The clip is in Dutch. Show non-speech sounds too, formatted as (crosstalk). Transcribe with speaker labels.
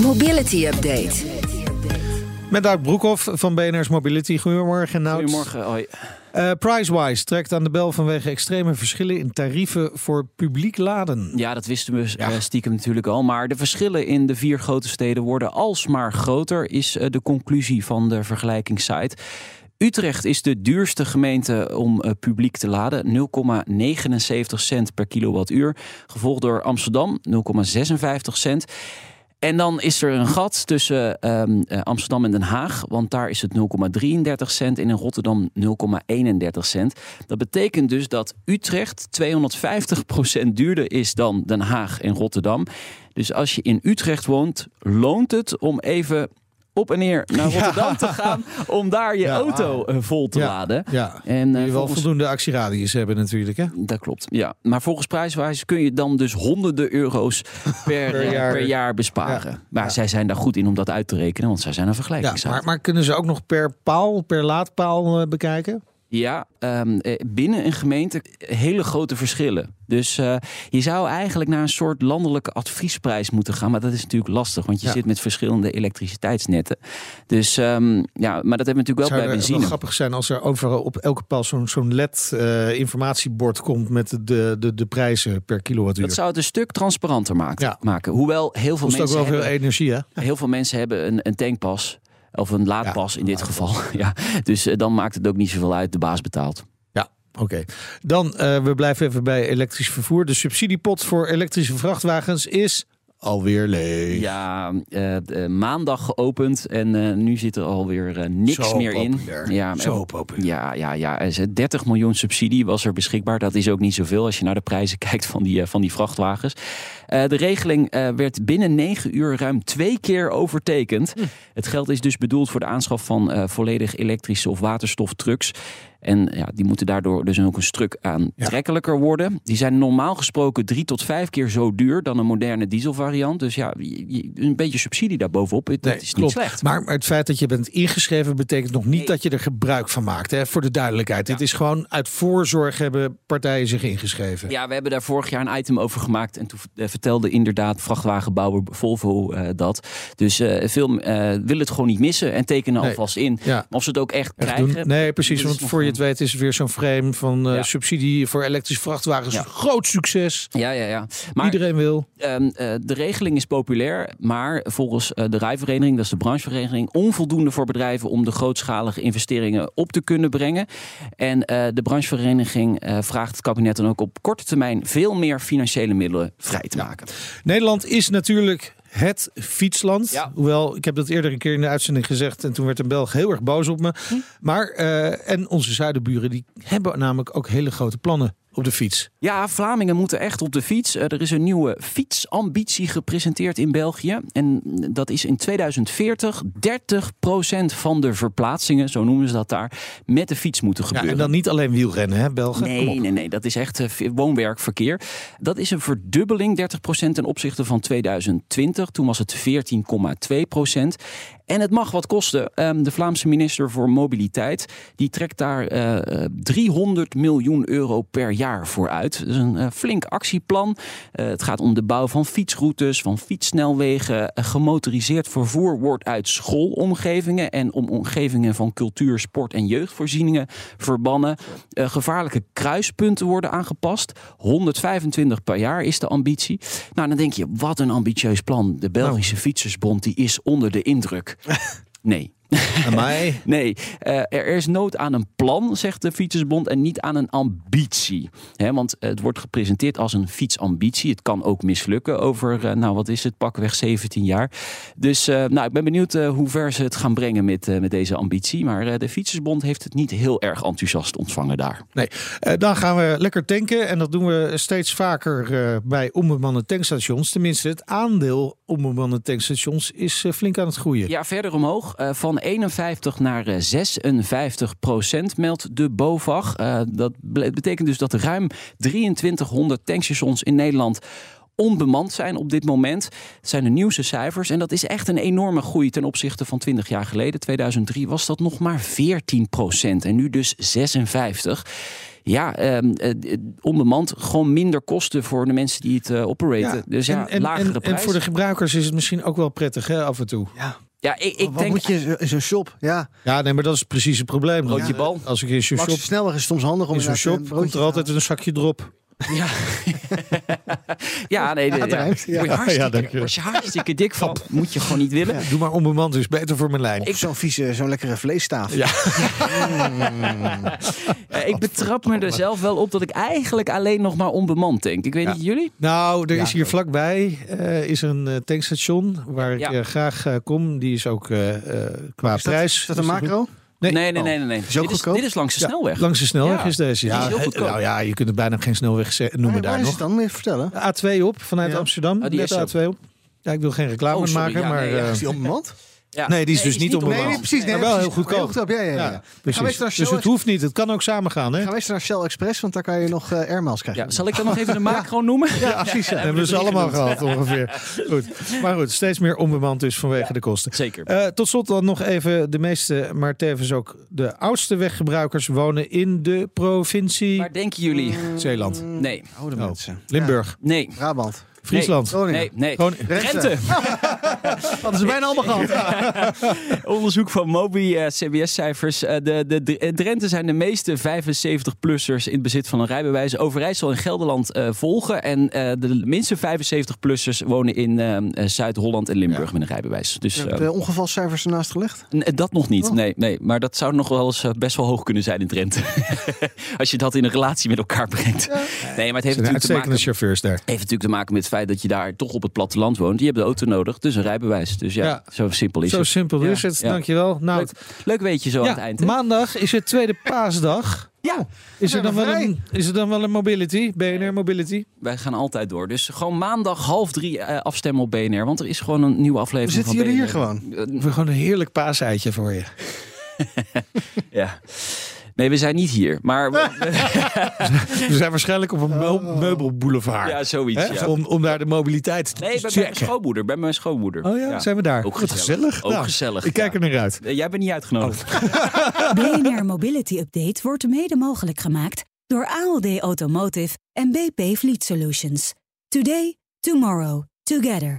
Speaker 1: Mobility Update.
Speaker 2: Met Nout Broekhoff van BNR's Mobility. Goedemorgen, Nout.
Speaker 3: Goedemorgen, hoi.
Speaker 2: Eh, Pricewise trekt aan de bel vanwege extreme verschillen in tarieven voor publiek laden.
Speaker 3: Ja, dat wisten we eh, stiekem natuurlijk al. Maar de verschillen in de vier grote steden worden alsmaar groter, is eh, de conclusie van de vergelijkingssite. Utrecht is de duurste gemeente om eh, publiek te laden, 0,79 cent per kilowattuur. Gevolgd door Amsterdam, 0,56 cent. En dan is er een gat tussen ehm, eh, Amsterdam en Den Haag. Want daar is het 0,33 cent en in Rotterdam 0,31 cent. Dat betekent dus dat Utrecht 250% duurder is dan Den Haag en Rotterdam. Dus als je in Utrecht woont, loont het om even op en neer
Speaker 2: (laughs)
Speaker 3: naar Rotterdam te gaan. Om daar je
Speaker 2: Ja,
Speaker 3: auto eh, vol te
Speaker 2: Ja,
Speaker 3: laden.
Speaker 2: Ja, en,
Speaker 3: En, eh,
Speaker 2: je wel
Speaker 3: volgens-
Speaker 2: voldoende actieradius hebben natuurlijk, hè?
Speaker 3: dat klopt. Ja. Maar volgens prijswijze kun je dan dus honderden
Speaker 2: (laughs)
Speaker 3: euro's per, eh, per, jaar.
Speaker 2: jaar.
Speaker 3: besparen.
Speaker 2: Ja.
Speaker 3: Maar
Speaker 2: Ja.
Speaker 3: zij zijn daar goed in om dat uit te rekenen, want zij zijn een
Speaker 2: Ja,
Speaker 3: vergelijkingszaak.
Speaker 2: maar, maar kunnen ze ook nog per paal, per laadpaal eh, bekijken?
Speaker 3: Ja, ehm, eh, binnen een gemeente hele grote verschillen. Dus eh, je zou eigenlijk naar een soort landelijke adviesprijs moeten gaan. Maar dat is natuurlijk lastig, want je
Speaker 2: Ja.
Speaker 3: zit met verschillende elektriciteitsnetten. Dus ehm, ja, maar dat hebben we natuurlijk wel
Speaker 2: zou
Speaker 3: bij
Speaker 2: het wel
Speaker 3: benzine.
Speaker 2: grappig zijn als er overal op elke paal zo'n zo'n LED-informatiebord komt met de, de, de prijzen per kilowattuur.
Speaker 3: Dat zou het een stuk transparanter maken.
Speaker 2: Ja.
Speaker 3: maken. Hoewel heel veel,
Speaker 2: kost ook
Speaker 3: mensen
Speaker 2: wel
Speaker 3: hebben,
Speaker 2: veel energie, hè?
Speaker 3: (laughs) heel veel mensen hebben een, een tankpas. Of een laadpas in dit geval. (laughs) Ja. Dus eh, dan maakt het ook niet zoveel uit. De baas betaalt.
Speaker 2: Ja, oké. Dan, eh, we blijven even bij elektrisch vervoer. De subsidiepot voor elektrische vrachtwagens is alweer leeg.
Speaker 3: Ja, eh, eh, maandag geopend en eh, nu zit er alweer eh, niks
Speaker 2: Zo
Speaker 3: meer
Speaker 2: populair.
Speaker 3: in. Ja,
Speaker 2: Zo
Speaker 3: eh,
Speaker 2: populair.
Speaker 3: ja, ja, ja. Er is, eh, 30 miljoen subsidie was er beschikbaar. Dat is ook niet zoveel als je naar de prijzen (laughs) kijkt van die, eh, van die vrachtwagens. Eh, de regeling eh, werd binnen 9 uur ruim twee keer overtekend.
Speaker 2: Hm.
Speaker 3: Het geld is dus bedoeld voor de aanschaf van eh, volledig elektrische of waterstoftrucks. En ja, die moeten daardoor dus ook een stuk aantrekkelijker worden. Die zijn normaal gesproken drie tot vijf keer zo duur dan een moderne dieselvariant. Dus ja, je- je- een beetje subsidie daarbovenop, dat
Speaker 2: Nee,
Speaker 3: is niet
Speaker 2: klopt.
Speaker 3: slecht.
Speaker 2: Maar het feit dat je bent ingeschreven betekent nog niet
Speaker 3: Nee.
Speaker 2: dat je er gebruik van maakt. Hè? Voor de duidelijkheid. Dit is gewoon uit voorzorg hebben partijen zich ingeschreven.
Speaker 3: Ja, we hebben daar vorig jaar een item over gemaakt. En toen eh, vertelde inderdaad vrachtwagenbouwer Volvo eh, dat. Dus eh, veel eh willen het gewoon niet missen en tekenen
Speaker 2: Nee.
Speaker 3: alvast in.
Speaker 2: Ja.
Speaker 3: Maar Of ze het ook echt,
Speaker 2: Echt
Speaker 3: krijgen.
Speaker 2: doen. Nee, precies.
Speaker 3: dat is
Speaker 2: Want
Speaker 3: nog
Speaker 2: voor je het
Speaker 3: een-
Speaker 2: weet is het weer zo'n frame van eh,
Speaker 3: Ja.
Speaker 2: subsidie voor elektrische vrachtwagens.
Speaker 3: Ja.
Speaker 2: Groot succes.
Speaker 3: Ja, ja, ja. Maar
Speaker 2: Iedereen wil.
Speaker 3: ehm, eh, de regeling is populair, maar volgens eh, de rijvereniging, dat is de branchevereniging, onvoldoende voor bedrijven om de grootschalige investeringen op te kunnen brengen. En eh, de branchevereniging eh, vraagt het kabinet dan ook op korte termijn veel meer financiële middelen vrij te maken.
Speaker 2: Nederland is natuurlijk het fietsland.
Speaker 3: Ja.
Speaker 2: Hoewel, ik heb dat eerder een keer in de uitzending gezegd. En toen werd een Belg heel erg boos op me.
Speaker 3: Hm.
Speaker 2: Maar, eh, en onze zuidenburen, die hebben namelijk ook hele grote plannen op de fiets.
Speaker 3: Ja, Vlamingen moeten echt op de fiets. Eh, Er is een nieuwe fietsambitie gepresenteerd in België. En mm, dat is in 2040 30% van de verplaatsingen, zo noemen ze dat daar, met de fiets moeten
Speaker 2: Ja,
Speaker 3: gebeuren.
Speaker 2: Nou, en dan niet alleen wielrennen, hè, Belgen? Kom op.
Speaker 3: (laughs) Nee, nee, nee. Dat is echt eh, v- woonwerkverkeer. Dat is een verdubbeling, 30% ten opzichte van 2020. Toen was het 14,2%. En het mag wat kosten. Ehm, De Vlaamse minister voor Mobiliteit die trekt daar eh, eh, 300 miljoen euro per jaar voor uit. Dat is een eh, flink actieplan. Eh, het gaat om de bouw van fietsroutes, van fietssnelwegen. Eh, gemotoriseerd vervoer wordt uit schoolomgevingen en om omgevingen van cultuur, sport en jeugdvoorzieningen verbannen. Eh, gevaarlijke kruispunten worden aangepast. 125 per jaar is de ambitie. Nou, dan denk je, wat een ambitieus plan. De Belgische Fietsersbond die is onder de indruk. Nee.
Speaker 2: Aan mij.
Speaker 3: Nee, eh, er is nood aan een plan, zegt de Fietsersbond, en niet aan een ambitie. Hè, want eh, het wordt gepresenteerd als een fietsambitie. Het kan ook mislukken over, eh, nou wat is het, pakweg 17 jaar. Dus eh, nou, ik ben benieuwd eh, hoe ver ze het gaan brengen met, eh, met deze ambitie. Maar eh, de Fietsersbond heeft het niet heel erg enthousiast ontvangen daar.
Speaker 2: Nee. Eh, dan gaan we lekker tanken. En dat doen we steeds vaker eh, bij onbemande tankstations. Tenminste, het aandeel onbemande tankstations is eh, flink aan het groeien.
Speaker 3: Ja, verder omhoog. eh, van 51 naar eh, 56 procent meldt de BOVAG. Eh, dat ble- betekent dus dat ruim 2300 tankstations in Nederland onbemand zijn op dit moment. Het zijn de nieuwste cijfers. En dat is echt een enorme groei ten opzichte van 20 jaar geleden. 2003 was dat nog maar 14 procent. En nu dus 56. Ja, ehm, eh, d- onbemand. Gewoon minder kosten voor de mensen die het eh, opereren. dus ja,
Speaker 2: en, en,
Speaker 3: lagere
Speaker 2: en,
Speaker 3: prijs.
Speaker 2: en voor de gebruikers is het misschien ook wel prettig hè, af en toe.
Speaker 3: Ja, ik, ik
Speaker 4: Wat
Speaker 3: denk...
Speaker 4: moet je in zo- in zo'n shop? Ja,
Speaker 2: Ja, nee, maar dat is precies het probleem.
Speaker 3: Broodje
Speaker 2: Ja,
Speaker 3: bal.
Speaker 2: Als ik in zo'n
Speaker 4: Max
Speaker 2: shop,
Speaker 4: sneller is soms handig om
Speaker 2: in zo'n
Speaker 4: inderdaad
Speaker 2: shop
Speaker 4: een
Speaker 2: komt
Speaker 4: broodje
Speaker 2: er
Speaker 4: te
Speaker 2: altijd
Speaker 4: halen.
Speaker 2: een zakje drop.
Speaker 3: Ja, (laughs) ja nee, de-
Speaker 4: Ja, het
Speaker 3: ja.
Speaker 4: ruimt, ja.
Speaker 3: Word je
Speaker 2: Ja,
Speaker 3: hartstikke,
Speaker 2: dank je.
Speaker 3: word je hartstikke dik van, moet je gewoon niet willen.
Speaker 2: Doe maar onbemand, is beter voor mijn lijn.
Speaker 4: Of zo'n vieze, zo'n lekkere vleesstaaf.
Speaker 3: Ja. Eh, ik betrap me er zelf wel op dat ik eigenlijk alleen nog maar onbemand denk. Ik weet niet, jullie?
Speaker 2: Nou, er
Speaker 4: Ja,
Speaker 2: is hier vlakbij eh, is een eh, tankstation waar ik
Speaker 3: Ja.
Speaker 2: eh, graag eh, kom. Die is ook eh, eh, qua
Speaker 4: Is dat,
Speaker 2: prijs.
Speaker 4: is dat een macro?
Speaker 3: Nee, nee,
Speaker 2: Oh.
Speaker 3: nee. nee, nee.
Speaker 4: Is ook
Speaker 3: Dit, is,
Speaker 4: goedkoop?
Speaker 3: dit is langs de
Speaker 2: Ja,
Speaker 3: snelweg.
Speaker 2: Langs de snelweg
Speaker 3: Ja.
Speaker 2: is deze.
Speaker 3: Die is
Speaker 2: Ja,
Speaker 3: heel
Speaker 2: eh,
Speaker 3: goedkoop.
Speaker 2: nou ja, je kunt het bijna geen snelweg ze-
Speaker 4: Waar-
Speaker 2: noemen
Speaker 4: waar
Speaker 2: daar
Speaker 4: is
Speaker 2: nog.
Speaker 4: het dan? Moet je even vertellen?
Speaker 2: De A2 op vanuit
Speaker 4: Ja.
Speaker 2: Amsterdam.
Speaker 3: Oh, die
Speaker 2: Net
Speaker 3: is
Speaker 2: de A2 op. Ja, ik wil geen reclame
Speaker 3: Oh, sorry.
Speaker 2: maken,
Speaker 3: Ja,
Speaker 2: maar...
Speaker 3: nee, ja.
Speaker 2: eh,
Speaker 4: Is die onbemand?
Speaker 3: Ja.
Speaker 2: Nee, die is dus
Speaker 3: is
Speaker 2: niet
Speaker 4: Nee,
Speaker 2: onbemand.
Speaker 4: nee, precies. Nee,
Speaker 2: Maar wel heel
Speaker 4: precies.
Speaker 2: goedkoop.
Speaker 4: Heel Ja, ja, ja.
Speaker 2: ja,
Speaker 4: Gaan we
Speaker 2: precies.
Speaker 4: even naar
Speaker 2: Dus
Speaker 4: Shell
Speaker 2: het hoeft niet. Het kan ook samen gaan, hè?
Speaker 4: Gaan we eens naar Shell Express, want daar kan je nog eh airmails krijgen.
Speaker 3: Ja, zal ik dan
Speaker 2: (laughs)
Speaker 3: nog even de macro noemen?
Speaker 4: Ja, precies.
Speaker 2: Dat
Speaker 4: Ja.
Speaker 2: hebben we ze allemaal
Speaker 4: (laughs)
Speaker 2: gehad ongeveer. Goed. Maar goed, steeds meer onbemand dus vanwege de kosten.
Speaker 3: Zeker.
Speaker 2: Eh, tot slot dan nog even de meeste, maar tevens ook de oudste weggebruikers wonen in de provincie
Speaker 3: Waar denken jullie?
Speaker 2: Mm. Zeeland,
Speaker 3: Nee,
Speaker 4: Oude
Speaker 2: Oh.
Speaker 4: mensen.
Speaker 2: Limburg,
Speaker 3: nee,
Speaker 4: Ja. Brabant.
Speaker 2: Friesland.
Speaker 4: Groningen.
Speaker 3: (laughs) nee, nee.
Speaker 2: Gewoon,
Speaker 3: Drenthe.
Speaker 4: Hadden ze bijna allemaal gehad.
Speaker 3: Onderzoek van Mobi, eh, CBS-cijfers. Eh, de, de, de- eh, Drenthe zijn de meeste 75-plussers in het bezit van een rijbewijs. Overijssel en Gelderland eh, volgen. En eh, de minste 75-plussers wonen in eh, eh, Zuid-Holland en Limburg met een rijbewijs.
Speaker 4: (laughs)
Speaker 3: Dus
Speaker 4: Je
Speaker 3: eh,
Speaker 4: hebt de ongevalcijfers ernaast gelegd.
Speaker 3: n- eh, dat nog niet.
Speaker 4: Oh.
Speaker 3: Nee, nee, maar dat zou nog wel eens eh, best wel hoog kunnen zijn in Drenthe. (laughs) Als je dat in een relatie met elkaar brengt. Nee, maar het heeft
Speaker 2: zijn
Speaker 3: natuurlijk te
Speaker 2: uitstekende
Speaker 3: maken...
Speaker 2: chauffeurs daar.
Speaker 3: Heeft natuurlijk te maken met het feit dat je daar toch op het platteland woont. Je hebt de auto nodig, dus een rijbewijs. Dus ja,
Speaker 2: Ja.
Speaker 3: zo simpel is
Speaker 2: Zo
Speaker 3: het.
Speaker 2: simpel is het.
Speaker 3: Ja.
Speaker 2: Dankjewel. Nou,
Speaker 3: Leuk, leuk weet je zo aan het
Speaker 2: ja,
Speaker 3: eind. hè?
Speaker 2: maandag is het tweede paasdag.
Speaker 3: ja,
Speaker 2: Is er,
Speaker 4: Ja,
Speaker 2: dan wel
Speaker 4: vrij.
Speaker 2: een, is er dan wel een mobility? BNR Mobility?
Speaker 3: Wij gaan altijd door. Dus gewoon maandag half drie eh, afstemmen op BNR. Want er is gewoon een nieuwe
Speaker 4: We
Speaker 3: aflevering
Speaker 4: zitten
Speaker 3: van
Speaker 4: jullie hier
Speaker 3: BNR.
Speaker 4: gewoon.
Speaker 2: We gewoon een heerlijk paaseitje voor je.
Speaker 3: (laughs) Ja. Nee, we zijn niet hier.
Speaker 2: (laughs)
Speaker 3: Maar
Speaker 2: We zijn waarschijnlijk op een meu- meubelboulevard.
Speaker 3: (laughs) ja, zoiets.
Speaker 2: Hè?
Speaker 3: Ja.
Speaker 2: Om, om daar de mobiliteit te
Speaker 3: Nee, dus bij mijn
Speaker 2: checken.
Speaker 3: schoonmoeder. Bij mijn schoonmoeder.
Speaker 2: Oh ja, zijn we daar.
Speaker 3: Ook
Speaker 2: Wat
Speaker 3: gezellig. Ook
Speaker 2: Nou,
Speaker 3: gezellig,
Speaker 2: Ik kijk
Speaker 3: ja.
Speaker 2: er naar uit. Oh.
Speaker 3: Eh, Jij bent niet uitgenodigd.
Speaker 5: BNR Mobility Update wordt mede mogelijk gemaakt door ALD Automotive en BP Fleet Solutions. Today, tomorrow, together.